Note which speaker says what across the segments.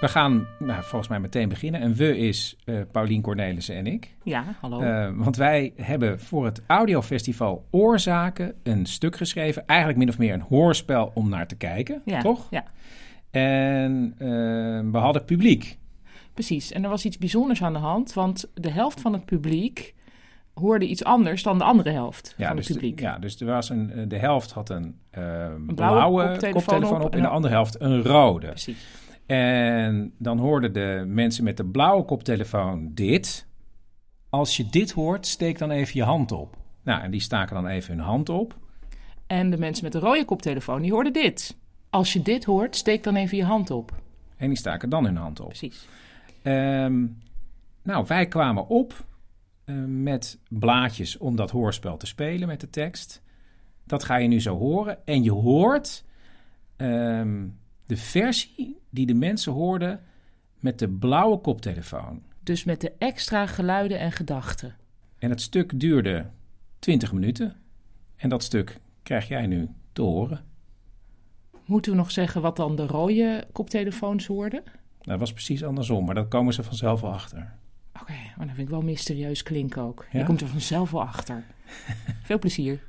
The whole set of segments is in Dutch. Speaker 1: We gaan nou, volgens mij meteen beginnen. En we is eh Paulien Cornelissen en ik.
Speaker 2: Ja,
Speaker 3: Oh.
Speaker 2: hallo.
Speaker 1: Eh, want wij hebben voor het audiofestival Oorzaken een stuk geschreven. Eigenlijk min of meer een hoorspel om naar te kijken,
Speaker 3: Ja,
Speaker 1: toch?
Speaker 3: Ja,
Speaker 1: En eh, we hadden publiek.
Speaker 3: precies. En er was iets bijzonders aan de hand, want de helft van het publiek hoorde iets anders dan de andere helft van
Speaker 1: dus
Speaker 3: het publiek.
Speaker 1: De, ja, dus er was een, eh, de helft had een, eh, blauwe,
Speaker 3: koptelefoon
Speaker 1: koptelefoon
Speaker 3: op
Speaker 1: op
Speaker 3: en
Speaker 1: en de
Speaker 3: een-
Speaker 1: andere helft een rode.
Speaker 3: Precies.
Speaker 1: En dan hoorden de mensen met de blauwe koptelefoon dit. Als je dit hoort, steek dan even je hand op. Nou, en die staken dan even hun hand op.
Speaker 3: En de mensen met de rode koptelefoon, die hoorden dit. Als je dit hoort, steek dan even je hand op.
Speaker 1: En die staken dan hun hand op.
Speaker 3: Precies.
Speaker 1: Ehm, nou, wij kwamen op eh, met blaadjes om dat hoorspel te spelen met de tekst. Dat ga je nu zo horen. En je hoort ehm, de versie die de mensen hoorden met de blauwe koptelefoon.
Speaker 3: Dus met de extra geluiden en gedachten.
Speaker 1: En het stuk duurde 20 minuten. En dat stuk krijg jij nu te horen.
Speaker 3: Moeten we nog zeggen wat dan de rode koptelefoons hoorden?
Speaker 1: Dat was precies andersom, maar daar komen ze vanzelf wel achter.
Speaker 3: Oké, oh, dat vind ik wel mysterieus klinken ook.
Speaker 1: Ja?
Speaker 3: Je komt er vanzelf wel achter. Veel plezier.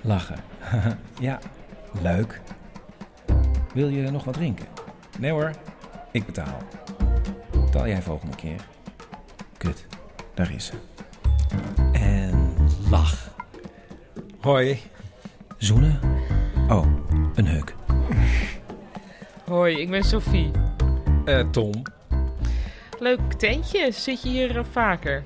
Speaker 1: Lachen. ja, leuk. Wil je nog wat drinken? Nee hoor, ik betaal. Betaal jij volgende keer. Kut, daar is ze. En lach. Hoi. Zoenen? Oh, een heuk.
Speaker 4: Hoi, ik ben Sophie.
Speaker 5: Eh,
Speaker 1: Tom.
Speaker 4: Leuk tentje, zit je hier eh, vaker?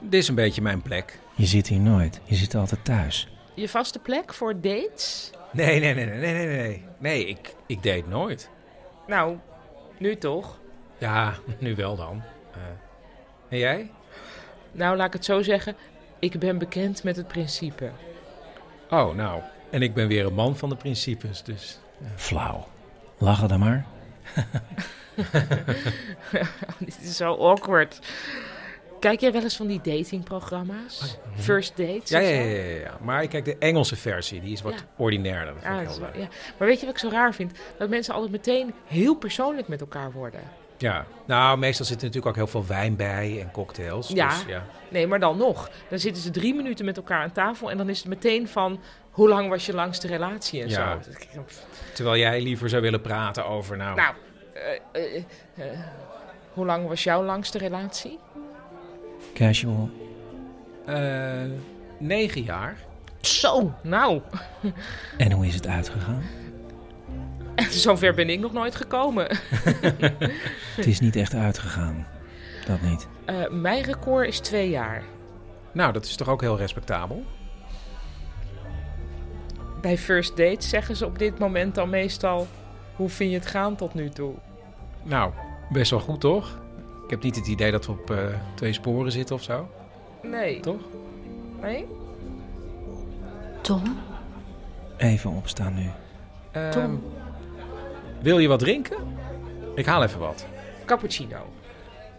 Speaker 5: Dit is een beetje mijn plek.
Speaker 1: Je zit hier nooit, je zit altijd thuis.
Speaker 4: Je vaste plek voor dates?
Speaker 5: Nee, nee, nee, nee, nee, nee, nee. Nee, ik, ik deed nooit.
Speaker 4: Nou, nu toch?
Speaker 5: Ja, nu wel dan. Eh, en jij?
Speaker 4: Nou, laat ik het zo zeggen, ik ben bekend met het principe.
Speaker 5: Oh, nou. En ik ben weer een man van de principes, dus...
Speaker 1: Flauw. Lachen dan maar.
Speaker 4: Dit is zo awkward. Kijk jij wel eens van die datingprogramma's? First dates?
Speaker 5: Oh Ja,
Speaker 4: of
Speaker 5: ja,
Speaker 4: zo?
Speaker 5: ja, ja, ja. Maar ik kijk de Engelse versie. Die is wat
Speaker 4: Ja.
Speaker 5: ordinairder. Dat vind
Speaker 4: Ah,
Speaker 5: ik
Speaker 4: dat is
Speaker 5: heel
Speaker 4: wel-
Speaker 5: leuk.
Speaker 4: ja. Maar weet je wat ik zo raar vind? Dat mensen altijd meteen heel persoonlijk met elkaar worden.
Speaker 5: Ja. Nou, meestal zit er natuurlijk ook heel veel wijn bij en cocktails.
Speaker 4: Ja.
Speaker 5: Dus, ja.
Speaker 4: Nee, maar dan nog. Dan zitten ze drie minuten met elkaar aan tafel en dan is het meteen van... Hoe lang was je langste relatie en
Speaker 5: Ja.
Speaker 4: zo?
Speaker 5: Terwijl jij liever zou willen praten over, nou...
Speaker 4: Nou, eh, eh, eh, hoe lang was jouw langste relatie?
Speaker 1: Casual.
Speaker 5: eh, negen jaar.
Speaker 4: Zo! Nou,
Speaker 1: En hoe is het uitgegaan?
Speaker 4: zover ben ik nog nooit gekomen.
Speaker 1: Het is niet echt uitgegaan. Dat niet.
Speaker 4: Eh, mijn record is twee jaar.
Speaker 5: Nou, dat is toch ook heel respectabel?
Speaker 4: Bij first dates zeggen ze op dit moment dan meestal... Hoe vind je het gaan tot nu toe?
Speaker 5: Nou, best wel goed, toch? Ik heb niet het idee dat we op eh, twee sporen zitten of zo.
Speaker 4: Nee.
Speaker 5: Toch?
Speaker 4: Nee?
Speaker 6: Tom?
Speaker 1: Even opstaan nu.
Speaker 5: Ehm, Wil je wat drinken? Ik haal even wat.
Speaker 4: Cappuccino.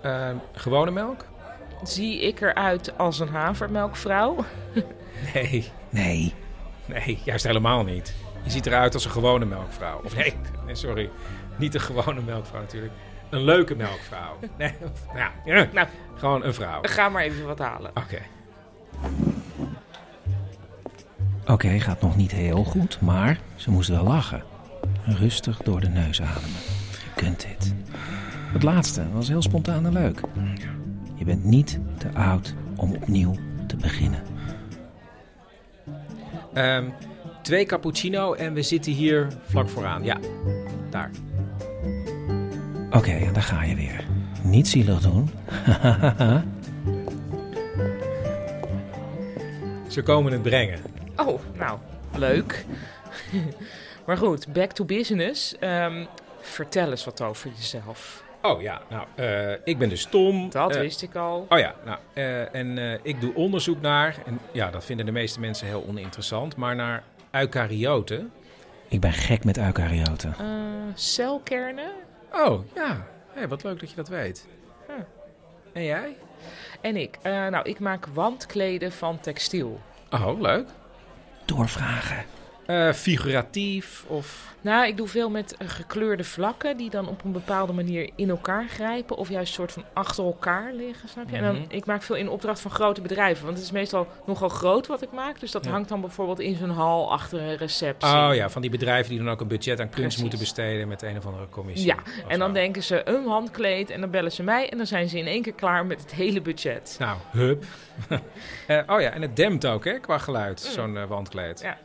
Speaker 5: Ehm, gewone melk?
Speaker 4: Zie ik eruit als een havermelkvrouw?
Speaker 5: Nee,
Speaker 1: Nee.
Speaker 5: nee, juist helemaal niet. Je ziet eruit als een gewone melkvrouw. Of nee, nee, sorry. Niet een gewone melkvrouw natuurlijk. Een leuke melkvrouw. Nee, nou, ja,
Speaker 4: Nou,
Speaker 5: gewoon een vrouw. Oké.
Speaker 4: ga maar even wat halen.
Speaker 1: Oké, gaat nog niet heel goed, maar ze moest wel lachen. Rustig door de neus ademen. Je kunt dit. Het laatste was heel spontaan en leuk. Je bent niet te oud om opnieuw te beginnen.
Speaker 5: Ehm, twee cappuccino en we zitten hier vlak vooraan. Ja, daar.
Speaker 1: Oké, en daar ga je weer. Niet zielig doen.
Speaker 5: Ze komen het brengen.
Speaker 4: Oh, nou, leuk. maar goed, back to business. Ehm, vertel eens wat over jezelf.
Speaker 5: Oh ja, nou, eh, ik ben dus Tom.
Speaker 4: Dat
Speaker 5: Eh,
Speaker 4: wist ik al.
Speaker 5: Oh ja, nou, eh, en eh, ik doe onderzoek naar, en ja, dat vinden de meeste mensen heel oninteressant, maar naar eukaryoten.
Speaker 1: Ik ben gek met eukaryoten.
Speaker 4: Eh, celkernen.
Speaker 5: Oh ja, hey, wat leuk dat je dat weet.
Speaker 4: Huh.
Speaker 5: En jij?
Speaker 4: En ik. Eh, nou, ik maak wandkleden van textiel.
Speaker 5: Oh, leuk.
Speaker 1: Doorvragen.
Speaker 5: Eh, figuratief of.
Speaker 4: Nou, ik doe veel met eh, gekleurde vlakken die dan op een bepaalde manier in elkaar grijpen. Of juist soort van achter elkaar liggen, snap je? En dan,
Speaker 5: Mhm.
Speaker 4: ik maak veel in opdracht van grote bedrijven. Want het is meestal nogal groot wat ik maak. Dus dat
Speaker 5: Ja.
Speaker 4: hangt dan bijvoorbeeld in zo'n hal achter een receptie.
Speaker 5: Oh ja, van die bedrijven die dan ook een budget aan kunst
Speaker 4: Precies.
Speaker 5: moeten besteden met een of andere commissie.
Speaker 4: Ja,
Speaker 5: of
Speaker 4: En dan
Speaker 5: zo.
Speaker 4: denken ze een handkleed en dan bellen ze mij en dan zijn ze in één keer klaar met het hele budget.
Speaker 5: Nou, hup. Eh, oh ja, en het dempt ook, hè, qua geluid,
Speaker 4: Mm.
Speaker 5: zo'n eh, wandkleed.
Speaker 4: Ja.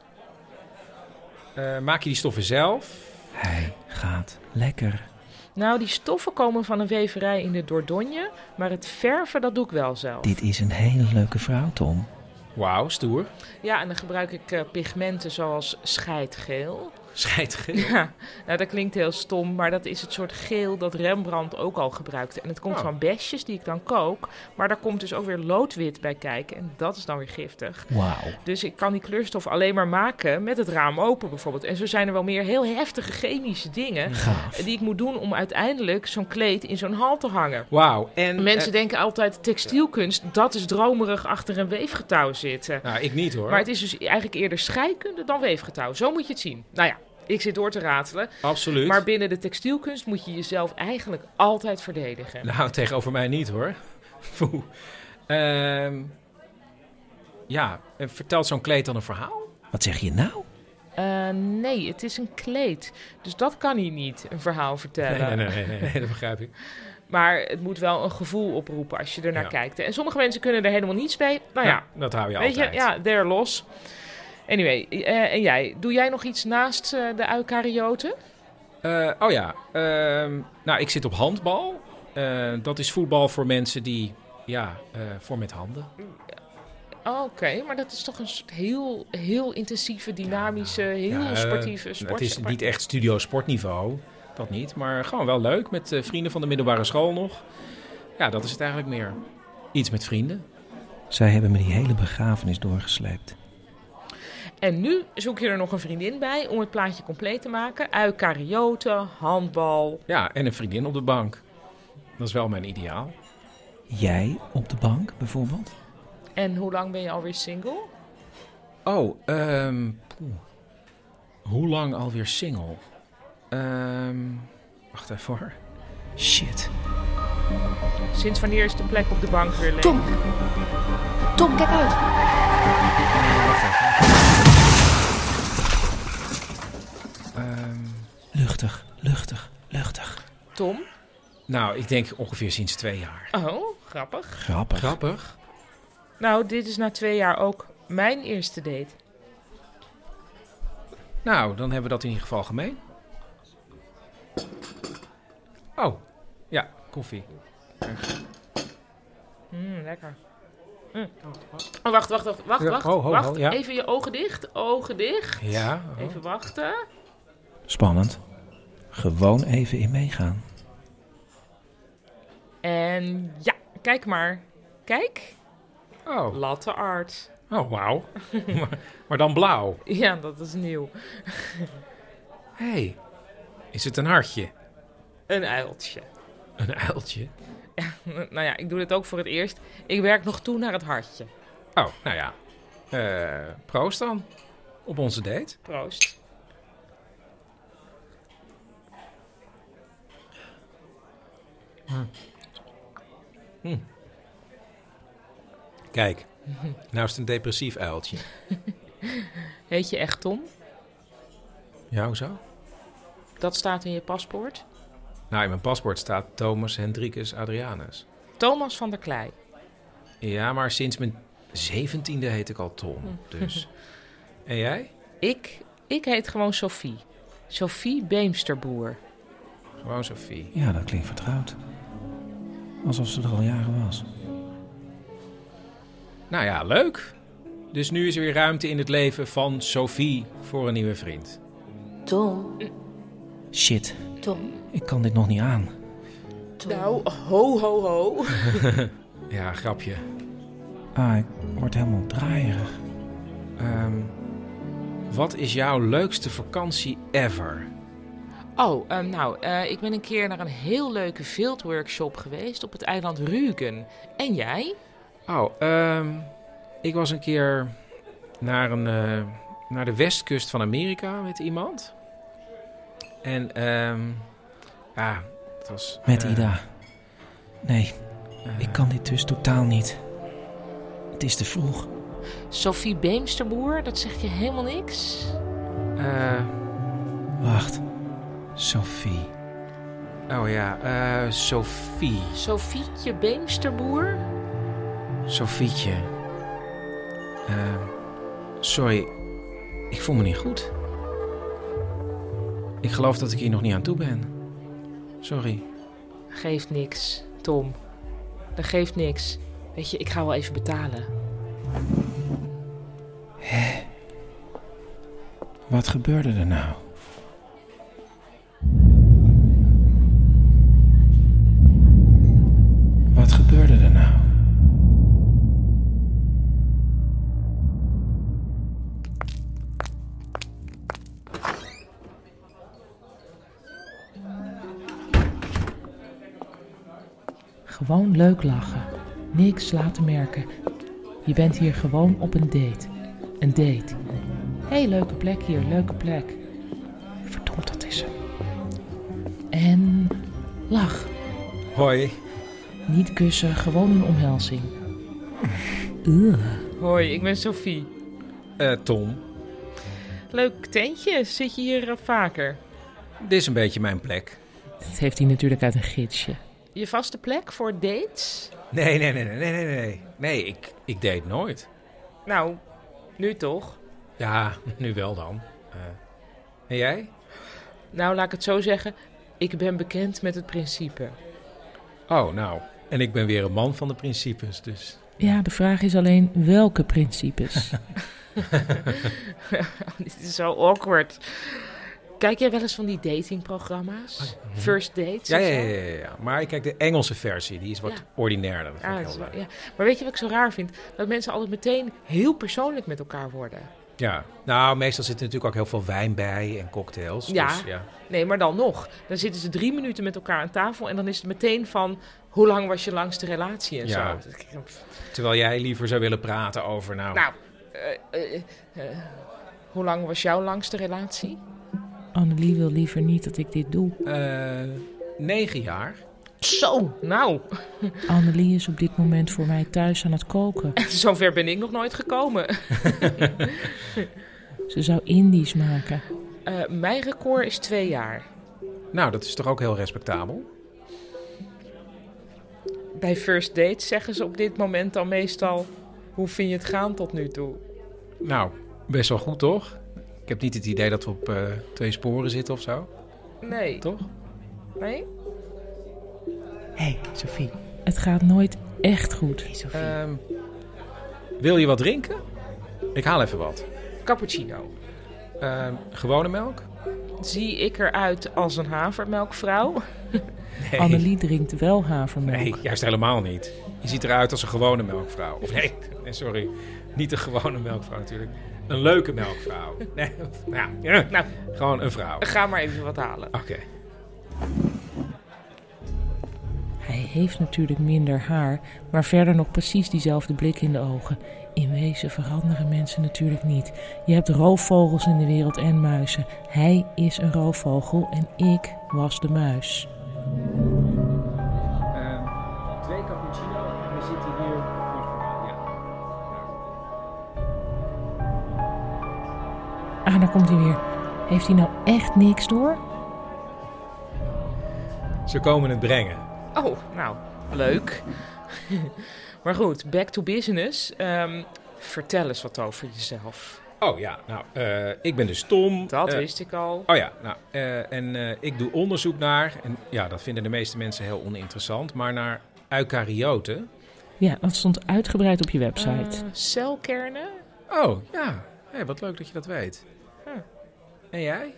Speaker 5: Eh, maak je die stoffen zelf?
Speaker 1: Hij gaat lekker.
Speaker 4: Nou, die stoffen komen van een weverij in de Dordogne, maar het verven dat doe ik wel zelf.
Speaker 1: Dit is een hele leuke vrouw, Tom.
Speaker 5: Wauw, stoer.
Speaker 4: Ja, en dan gebruik ik eh, pigmenten zoals scheidgeel.
Speaker 5: Scheidgeel.
Speaker 4: Ja, nou dat klinkt heel stom, maar dat is het soort geel dat Rembrandt ook al gebruikte. En het komt
Speaker 5: Oh.
Speaker 4: van besjes die ik dan kook, maar daar komt dus ook weer loodwit bij kijken en dat is dan weer giftig.
Speaker 1: Wauw.
Speaker 4: Dus ik kan die kleurstof alleen maar maken met het raam open bijvoorbeeld. En zo zijn er wel meer heel heftige chemische dingen
Speaker 1: Gaaf.
Speaker 4: die ik moet doen om uiteindelijk zo'n kleed in zo'n hal te hangen. eh,
Speaker 5: Wauw. En
Speaker 4: Mensen denken altijd textielkunst, dat is dromerig achter een weefgetouw zitten.
Speaker 5: eh, nou, ik niet hoor.
Speaker 4: Maar het is dus eigenlijk eerder scheikunde dan weefgetouw. Zo moet je het zien. Nou ja, ik zit door te ratelen.
Speaker 5: Absoluut.
Speaker 4: Maar binnen de textielkunst moet je jezelf eigenlijk altijd verdedigen.
Speaker 5: Nou, tegenover mij niet hoor. Foe. Ehm, ja, en vertelt zo'n kleed dan een verhaal?
Speaker 1: Wat zeg je nou?
Speaker 4: Eh, nee, het is een kleed. Dus dat kan hij niet, een verhaal vertellen.
Speaker 5: nee, nee, nee, dat begrijp ik.
Speaker 4: Maar het moet wel een gevoel oproepen als je ernaar
Speaker 5: Ja.
Speaker 4: kijkt. En sommige mensen kunnen er helemaal niets mee. Nou ja,
Speaker 5: dat hou je
Speaker 4: weet
Speaker 5: altijd.
Speaker 4: je, ja, they're los. Anyway, eh, en jij, doe jij nog iets naast eh, de eukaryoten?
Speaker 5: Eh, oh ja, ehm, nou, ik zit op handbal. Eh, dat is voetbal voor mensen die, ja, eh, voor met handen.
Speaker 4: Oké, maar dat is toch een soort heel, heel intensieve, dynamische, heel
Speaker 5: Ja, eh,
Speaker 4: sportieve sport.
Speaker 5: Het is niet echt studio sportniveau, dat niet. Maar gewoon wel leuk, met eh, vrienden van de middelbare school nog. Ja, dat is het eigenlijk meer. Iets met vrienden.
Speaker 1: Zij hebben me die hele begrafenis doorgesleept.
Speaker 4: En nu zoek je er nog een vriendin bij om het plaatje compleet te maken. Eukaryoten, handbal.
Speaker 5: Ja, en een vriendin op de bank. Dat is wel mijn ideaal.
Speaker 1: Jij op de bank bijvoorbeeld?
Speaker 4: En hoe lang ben je alweer single?
Speaker 5: Oh, ehm, poeh. hoe lang alweer single? Ehm, wacht even hoor.
Speaker 1: Shit.
Speaker 4: Sinds wanneer is de plek op de bank weer leeg?
Speaker 7: Tom! Tom, kijk uit!
Speaker 5: Ehm,
Speaker 1: Luchtig, luchtig, luchtig.
Speaker 4: Tom?
Speaker 5: nou, ik denk ongeveer sinds twee jaar.
Speaker 4: Oh, grappig.
Speaker 1: Grappig.
Speaker 5: Grappig.
Speaker 4: Nou, dit is na twee jaar ook mijn eerste date.
Speaker 5: Nou, dan hebben we dat in ieder geval gemeen. Oh, ja, koffie.
Speaker 4: Mm, lekker. Mm. Oh, wacht, wacht, wacht, wacht,
Speaker 5: Ja,
Speaker 4: wacht.
Speaker 5: ho, ho, ho,
Speaker 4: wacht.
Speaker 5: ja.
Speaker 4: Even je ogen dicht, ogen dicht.
Speaker 5: Ja. oh.
Speaker 4: Even wachten.
Speaker 1: Spannend. Gewoon even in meegaan.
Speaker 4: En ja, kijk maar. Kijk,
Speaker 5: Oh,
Speaker 4: latte art.
Speaker 5: oh wauw. maar, maar dan blauw.
Speaker 4: Ja, dat is nieuw.
Speaker 5: Hé, hey, is het een hartje?
Speaker 4: Een uiltje.
Speaker 5: Een uiltje?
Speaker 4: Nou ja, ik doe dit ook voor het eerst. Ik werk nog toe naar het hartje.
Speaker 5: Oh, nou ja. Eh, proost dan. Op onze date.
Speaker 4: Proost.
Speaker 5: Hm. Kijk, nou is het een depressief uiltje.
Speaker 4: Heet je echt Tom?
Speaker 5: Ja, hoezo?
Speaker 4: Dat staat in je paspoort.
Speaker 5: Nou, in mijn paspoort staat Thomas Hendrikus Adrianus.
Speaker 4: Thomas van der Klei.
Speaker 5: Ja, maar sinds mijn zeventiende heet ik al Tom, dus... En jij?
Speaker 4: Ik, ik heet gewoon Sophie. Sophie Beemsterboer.
Speaker 5: Gewoon Sophie.
Speaker 8: Ja, dat klinkt vertrouwd. Alsof ze er al jaren was.
Speaker 5: Nou ja, leuk. Dus nu is er weer ruimte in het leven van Sophie voor een nieuwe vriend.
Speaker 9: Tom,
Speaker 8: Shit,
Speaker 9: Tom,
Speaker 8: ik kan dit nog niet aan.
Speaker 9: Tom.
Speaker 4: Nou, ho, ho, ho.
Speaker 5: Ja, grapje.
Speaker 8: Ah, ik word helemaal draaierig.
Speaker 5: Ehm, wat is jouw leukste vakantie ever?
Speaker 4: Oh, ehm, nou, eh, ik ben een keer naar een heel leuke fieldworkshop geweest op het eiland Rügen. En jij?
Speaker 5: Oh, ehm, ik was een keer naar, een, eh, naar de westkust van Amerika met iemand. En ehm, ja, het was...
Speaker 8: Met
Speaker 5: eh,
Speaker 8: Ida. Nee,
Speaker 5: eh,
Speaker 8: ik kan dit dus totaal niet. Het is te vroeg.
Speaker 4: Sophie Beemsterboer, dat zegt je helemaal niks?
Speaker 5: eh,
Speaker 8: Wacht. Sophie.
Speaker 5: oh ja, eh, Sophie.
Speaker 4: Sophietje Beemsterboer?
Speaker 5: Sofietje. Ehm, sorry, ik voel me niet goed. Ik geloof dat ik hier nog niet aan toe ben. Sorry.
Speaker 4: Geeft niks, Tom. Dat geeft niks. Weet je, ik ga wel even betalen.
Speaker 8: Wat gebeurde er nou? Wat gebeurde er nou?
Speaker 3: Gewoon leuk lachen. Niks laten merken. Je bent hier gewoon op een date. Een date. hey, leuke plek hier, leuke plek. Verdomd, dat is hem. En lach.
Speaker 5: Hoi.
Speaker 3: Niet kussen, gewoon een omhelzing. Ugh.
Speaker 4: Hoi, ik ben Sophie.
Speaker 5: Eh, Tom,
Speaker 4: Leuk tentje, zit je hier eh, vaker?
Speaker 5: dit is een beetje mijn plek.
Speaker 3: Dat heeft hij natuurlijk uit een gidsje.
Speaker 4: Je vaste plek voor dates?
Speaker 5: Nee, nee, nee, nee, nee, nee, nee. Nee, ik, ik deed nooit.
Speaker 4: Nou, nu toch?
Speaker 5: Ja, nu wel dan. Eh, en jij?
Speaker 4: Nou, laat ik het zo zeggen. Ik ben bekend met het principe.
Speaker 5: Oh, nou. En ik ben weer een man van de principes, dus...
Speaker 3: Ja, de vraag is alleen welke principes?
Speaker 4: Dit is zo awkward. Kijk jij wel eens van die datingprogramma's? First dates?
Speaker 5: Ja,
Speaker 4: en
Speaker 5: ja,
Speaker 4: zo?
Speaker 5: ja, ja, ja. Maar ik kijk de Engelse versie. Die is wat
Speaker 4: Ja.
Speaker 5: ordinairder. Dat vind
Speaker 4: Ja,
Speaker 5: ik
Speaker 4: dat is
Speaker 5: heel
Speaker 4: wel-
Speaker 5: leuk.
Speaker 4: ja. Maar weet je wat ik zo raar vind? Dat mensen altijd meteen heel persoonlijk met elkaar worden.
Speaker 5: Ja. Nou, meestal zit er natuurlijk ook heel veel wijn bij en cocktails.
Speaker 4: Ja.
Speaker 5: Dus, ja.
Speaker 4: Nee, maar dan nog. Dan zitten ze drie minuten met elkaar aan tafel en dan is het meteen van... hoe lang was je langste relatie en
Speaker 5: Ja.
Speaker 4: zo. Dus
Speaker 5: Terwijl jij liever zou willen praten over, nou...
Speaker 4: Nou, eh, eh, eh, hoe lang was jouw langste relatie?
Speaker 3: Annelie wil liever niet dat ik dit doe.
Speaker 4: Nou.
Speaker 5: eh, negen jaar.
Speaker 4: Zo! Nou,
Speaker 3: Annelie is op dit moment voor mij thuis aan het koken.
Speaker 4: zover ben ik nog nooit gekomen.
Speaker 3: Ze zou Indisch maken.
Speaker 4: Eh, mijn record is twee jaar.
Speaker 5: Nou, dat is toch ook heel respectabel?
Speaker 4: Bij first dates zeggen ze op dit moment dan meestal... hoe vind je het gaan tot nu toe?
Speaker 5: Nou, best wel goed, toch? Ik heb niet het idee dat we op eh, twee sporen zitten of zo,
Speaker 4: Nee.
Speaker 5: toch?
Speaker 4: Nee?
Speaker 3: hey, Sophie. Het gaat nooit echt goed.
Speaker 4: Eh,
Speaker 5: Ehm, wil je wat drinken? Ik haal even wat.
Speaker 4: Cappuccino.
Speaker 5: Ehm, gewone melk?
Speaker 4: Zie ik eruit als een havermelkvrouw?
Speaker 5: Nee.
Speaker 3: Annelie drinkt wel havermelk.
Speaker 5: Nee, juist helemaal niet. Je ziet eruit als een gewone melkvrouw. Of nee, nee, sorry. Niet een gewone melkvrouw natuurlijk. Een leuke melkvrouw. Nee, nou, ja,
Speaker 4: Nou,
Speaker 5: gewoon een vrouw. Oké.
Speaker 4: ga maar even wat halen.
Speaker 3: Hij heeft natuurlijk minder haar, maar verder nog precies diezelfde blik in de ogen. In wezen veranderen mensen natuurlijk niet. Je hebt roofvogels in de wereld en muizen. Hij is een roofvogel en ik was de muis.
Speaker 5: Ehm, twee cappuccino en we zitten hier voor het verhaal. Ja.
Speaker 3: Ah, daar komt hij weer. Heeft hij nou echt niks door?
Speaker 5: Ze komen het brengen.
Speaker 4: Oh, nou, leuk. maar goed, back to business. Ehm, vertel eens wat over jezelf.
Speaker 5: Oh ja, nou, eh, ik ben dus Tom.
Speaker 4: Dat
Speaker 5: Eh,
Speaker 4: wist ik al.
Speaker 5: Oh ja, nou, eh, en eh, ik doe onderzoek naar, en ja, dat vinden de meeste mensen heel oninteressant, maar naar eukaryoten.
Speaker 3: Ja, dat stond uitgebreid op je website.
Speaker 4: Eh, celkernen.
Speaker 5: Oh, ja. Hé, wat leuk dat je dat weet.
Speaker 4: Huh.
Speaker 5: En jij?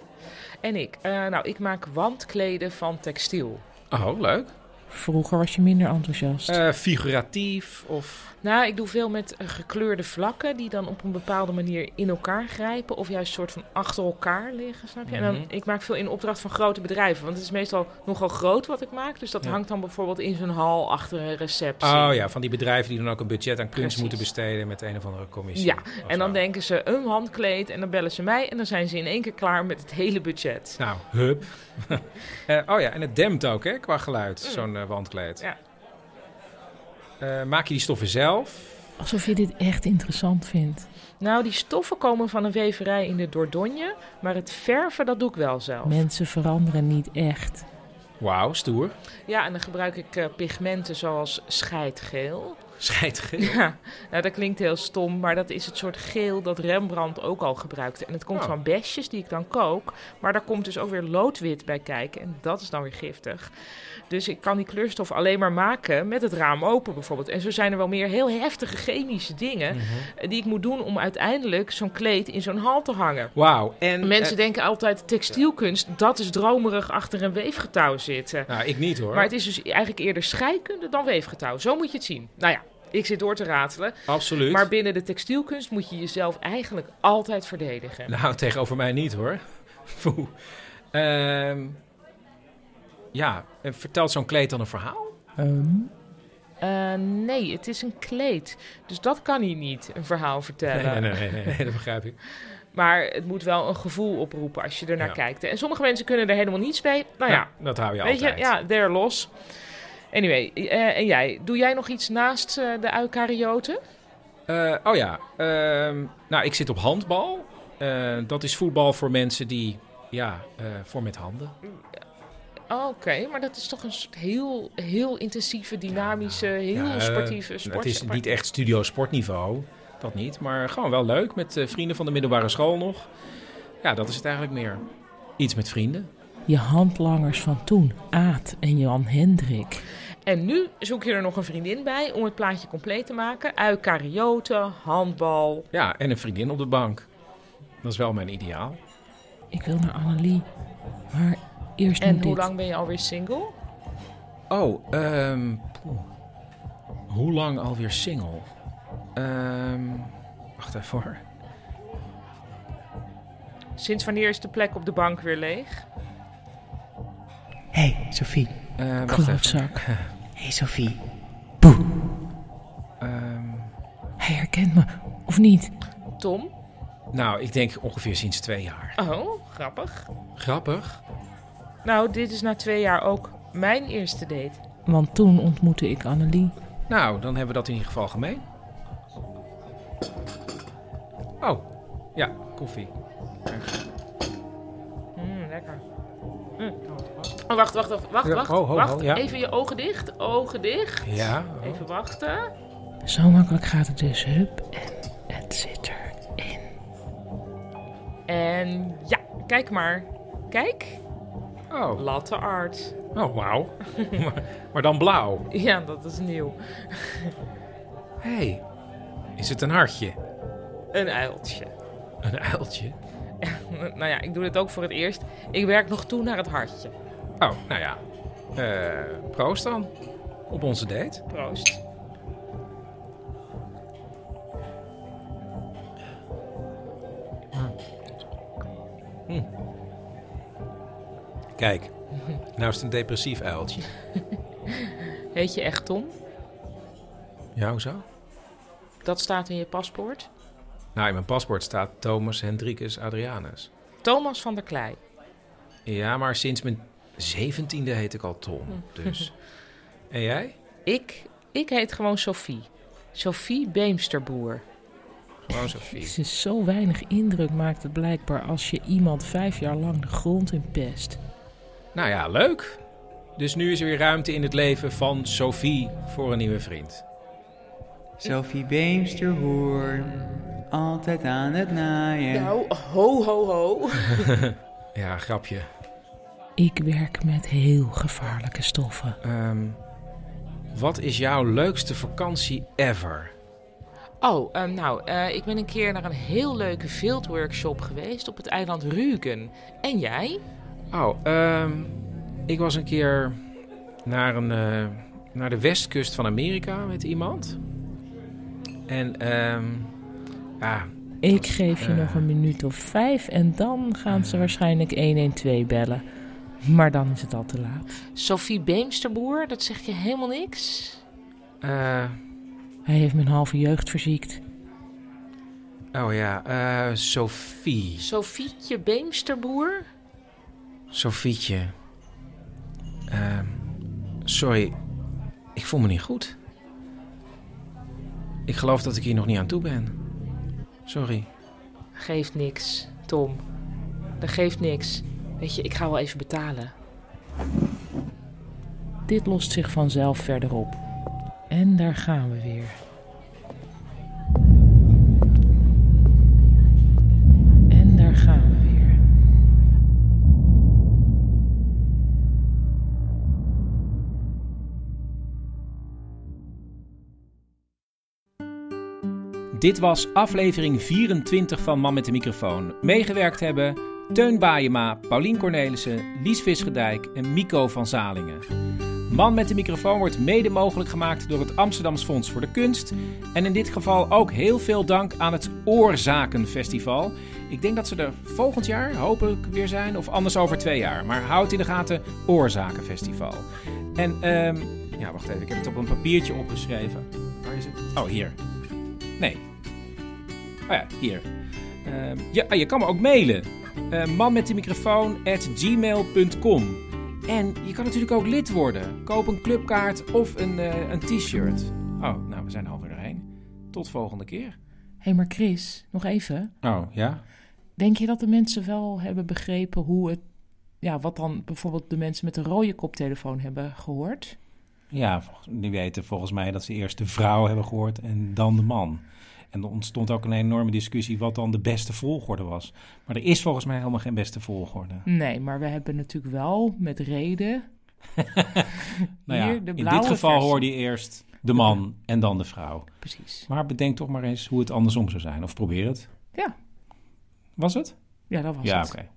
Speaker 4: En ik. Eh, nou, ik maak wandkleden van textiel.
Speaker 5: Oh, leuk.
Speaker 3: Vroeger was je minder enthousiast.
Speaker 5: Eh, figuratief of...
Speaker 4: Nou, ik doe veel met eh, gekleurde vlakken die dan op een bepaalde manier in elkaar grijpen. Of juist soort van achter elkaar liggen, snap je? En dan,
Speaker 5: Mhm.
Speaker 4: ik maak veel in opdracht van grote bedrijven. Want het is meestal nogal groot wat ik maak. Dus dat
Speaker 5: Ja.
Speaker 4: hangt dan bijvoorbeeld in zo'n hal achter een receptie.
Speaker 5: Oh ja, van die bedrijven die dan ook een budget aan kunst
Speaker 4: Precies.
Speaker 5: moeten besteden met een of andere commissie.
Speaker 4: Ja,
Speaker 5: of
Speaker 4: En dan
Speaker 5: zo.
Speaker 4: denken ze een handkleed en dan bellen ze mij. En dan zijn ze in één keer klaar met het hele budget.
Speaker 5: Nou, hup. Eh, oh ja, en het dempt ook, hè, qua geluid, zo'n eh, wandkleed.
Speaker 4: Mm. Ja.
Speaker 5: Eh, maak je die stoffen zelf?
Speaker 3: Alsof je dit echt interessant vindt.
Speaker 4: Nou, die stoffen komen van een weverij in de Dordogne. Maar het verven, dat doe ik wel zelf.
Speaker 3: Mensen veranderen niet echt.
Speaker 5: Wauw, stoer.
Speaker 4: Ja, en dan gebruik ik eh, pigmenten zoals scheidgeel.
Speaker 5: Scheidgeel.
Speaker 4: Ja, nou, dat klinkt heel stom, maar dat is het soort geel dat Rembrandt ook al gebruikte. En het komt
Speaker 5: Oh.
Speaker 4: van besjes die ik dan kook, maar daar komt dus ook weer loodwit bij kijken. En dat is dan weer giftig. Dus ik kan die kleurstof alleen maar maken met het raam open bijvoorbeeld. En zo zijn er wel meer heel heftige chemische dingen eh, die ik moet doen om uiteindelijk zo'n kleed in zo'n hal te hangen.
Speaker 5: Wauw. En
Speaker 4: Mensen
Speaker 5: eh,
Speaker 4: denken altijd textielkunst, dat is dromerig achter een weefgetouw zitten.
Speaker 5: nou, ik niet hoor.
Speaker 4: Maar het is dus eigenlijk eerder scheikunde dan weefgetouw. Zo moet je het zien. Nou ja, ik zit door te ratelen.
Speaker 5: Absoluut.
Speaker 4: Maar binnen de textielkunst moet je jezelf eigenlijk altijd verdedigen.
Speaker 5: Nou, tegenover mij niet hoor. Foe. Ehm, ja, en vertelt zo'n kleed dan een verhaal?
Speaker 3: Ehm,
Speaker 4: Eh, nee, het is een kleed. Dus dat kan hij niet, een verhaal vertellen.
Speaker 5: nee, nee, nee, dat begrijp ik.
Speaker 4: Maar het moet wel een gevoel oproepen als je ernaar
Speaker 5: Ja.
Speaker 4: kijkt. En sommige mensen kunnen er helemaal niets mee. Nou ja,
Speaker 5: dat hou je
Speaker 4: weet
Speaker 5: altijd.
Speaker 4: je, ja, they're los. Anyway, eh, en jij? Doe jij nog iets naast eh, de eukaryoten?
Speaker 5: Eh, oh ja, ehm, nou, ik zit op handbal. Eh, dat is voetbal voor mensen die, ja, eh, voor met handen.
Speaker 4: Oké, maar dat is toch een soort heel, heel intensieve, dynamische, heel
Speaker 5: Ja, eh,
Speaker 4: sportieve sport.
Speaker 5: Het is
Speaker 4: zeg maar.
Speaker 5: niet echt studio sportniveau, dat niet. Maar gewoon wel leuk, met eh, vrienden van de middelbare school nog. Ja, dat is het eigenlijk meer. Iets met vrienden.
Speaker 3: je handlangers van toen, Aad en Jan Hendrik.
Speaker 4: En nu zoek je er nog een vriendin bij om het plaatje compleet te maken. Uikarioten, handbal.
Speaker 5: Ja, en een vriendin op de bank. Dat is wel mijn ideaal.
Speaker 3: Ik wil naar Annelie. Maar eerst
Speaker 4: En
Speaker 3: moet
Speaker 4: hoe
Speaker 3: dit.
Speaker 4: lang ben je alweer single?
Speaker 5: Oh, ehm, poeh. hoe lang alweer single? Ehm, wacht even hoor.
Speaker 4: Sinds wanneer is de plek op de bank weer leeg?
Speaker 10: Hé, hey, Sophie.
Speaker 5: Eh, wacht even.
Speaker 3: Klootzak.
Speaker 10: Hé, hey, Sophie.
Speaker 5: Ehm,
Speaker 3: Hij herkent me, of niet?
Speaker 4: Tom?
Speaker 5: nou, ik denk ongeveer sinds twee jaar.
Speaker 4: Oh, grappig.
Speaker 5: Grappig.
Speaker 4: Nou, dit is na twee jaar ook mijn eerste date.
Speaker 3: Want toen ontmoette ik Annelie.
Speaker 5: Nou, dan hebben we dat in ieder geval gemeen. Oh, ja, koffie.
Speaker 4: Mm, lekker. Mm. Oh, wacht, wacht, wacht, wacht,
Speaker 5: Ja,
Speaker 4: wacht.
Speaker 5: ho, ho, ho,
Speaker 4: wacht.
Speaker 5: ja.
Speaker 4: Even je ogen dicht, ogen dicht.
Speaker 5: Ja.
Speaker 4: Even wachten.
Speaker 3: Zo makkelijk gaat het dus. Hup, en het zit er.
Speaker 4: En ja, kijk maar. Kijk,
Speaker 5: Oh,
Speaker 4: latte art.
Speaker 5: oh wauw. maar, maar dan blauw.
Speaker 4: Ja, dat is nieuw.
Speaker 5: Hé, hey, is het een hartje?
Speaker 4: Een uiltje.
Speaker 5: Een uiltje?
Speaker 4: Nou ja, ik doe dit ook voor het eerst. Ik werk nog toe naar het hartje.
Speaker 5: Oh, nou ja. Eh, proost dan. Op onze date.
Speaker 4: Proost.
Speaker 5: Kijk, nou is het een depressief uiltje.
Speaker 4: Heet je echt Tom?
Speaker 5: Ja, hoezo?
Speaker 4: Dat staat in je paspoort.
Speaker 5: Nou, in mijn paspoort staat Thomas Hendrikus Adrianus.
Speaker 4: Thomas van der Klei.
Speaker 5: Ja, maar sinds mijn zeventiende heet ik al Tom, dus. En jij?
Speaker 4: Ik, ik heet gewoon Sophie. Sophie Beemsterboer.
Speaker 5: Gewoon Sophie.
Speaker 3: Jezus, zo weinig indruk maakt het blijkbaar als je iemand vijf jaar lang de grond in pest.
Speaker 5: Nou ja, leuk. Dus nu is er weer ruimte in het leven van Sophie voor een nieuwe vriend.
Speaker 10: Sophie Beemsterhoorn. altijd aan het naaien.
Speaker 4: Nou, ho, ho, ho.
Speaker 5: Ja, grapje.
Speaker 3: Ik werk met heel gevaarlijke stoffen.
Speaker 5: Ehm, wat is jouw leukste vakantie ever?
Speaker 4: Oh, ehm, nou, eh, ik ben een keer naar een heel leuke fieldworkshop geweest op het eiland Rügen. En jij?
Speaker 5: Oh, ehm, ik was een keer naar, een, eh, naar de westkust van Amerika met iemand. En ehm, ja,
Speaker 3: Ik geef je
Speaker 5: Eh.
Speaker 3: nog een minuut of vijf en dan gaan ze waarschijnlijk 112 bellen. Maar dan is het al te laat.
Speaker 4: Sophie Beemsterboer, dat zeg je helemaal niks?
Speaker 5: eh,
Speaker 3: Hij heeft mijn halve jeugd verziekt.
Speaker 5: oh ja, eh, Sophie.
Speaker 4: Sofietje Beemsterboer?
Speaker 5: Sofietje. Ehm, sorry, ik voel me niet goed. Ik geloof dat ik hier nog niet aan toe ben. Sorry.
Speaker 4: Geeft niks, Tom. Dat geeft niks. Weet je, ik ga wel even betalen.
Speaker 3: Dit lost zich vanzelf verder op. En daar gaan we weer. En daar gaan we weer.
Speaker 1: Dit was aflevering 24 van Man met de microfoon. Meegewerkt hebben Teun Baayema, Paulien Cornelissen, Lies Visgedijk en Mico van Zalingen. Man met de microfoon wordt mede mogelijk gemaakt door het Amsterdams Fonds voor de Kunst. En in dit geval ook heel veel dank aan het Oorzakenfestival. Ik denk dat ze er volgend jaar hopelijk weer zijn, of anders over twee jaar. Maar houd in de gaten Oorzakenfestival. En, ehm, ja, wacht even, ik heb het op een papiertje opgeschreven. Waar is het? Oh, hier. Nee. Oh ja, hier. Ehm, ja, ah, je kan me ook mailen. Eh man met de microfoon at gmail.com. En je kan natuurlijk ook lid worden. Koop een clubkaart of een, eh, een t-shirt. Oh, nou, we zijn er alweer doorheen. Tot volgende keer.
Speaker 3: Hé, maar Chris, nog even.
Speaker 1: Oh, ja?
Speaker 3: Denk je dat de mensen wel hebben begrepen hoe het... Ja, wat dan bijvoorbeeld de mensen met de rode koptelefoon hebben gehoord?
Speaker 8: Ja, volgens- die weten volgens mij dat ze eerst de vrouw hebben gehoord en dan de man. En er ontstond ook een enorme discussie wat dan de beste volgorde was. Maar er is volgens mij helemaal geen beste volgorde.
Speaker 3: Nee, maar we hebben natuurlijk wel met reden...
Speaker 8: Nou ja,
Speaker 3: Hier, de
Speaker 8: in
Speaker 3: blauwe
Speaker 8: dit geval
Speaker 3: versie.
Speaker 8: hoorde je eerst de man en dan de vrouw.
Speaker 3: Precies.
Speaker 8: Maar bedenk toch maar eens hoe het andersom zou zijn. Of probeer het.
Speaker 3: Ja.
Speaker 8: Was het?
Speaker 3: Ja, dat was
Speaker 8: ja,
Speaker 3: het.
Speaker 8: oké.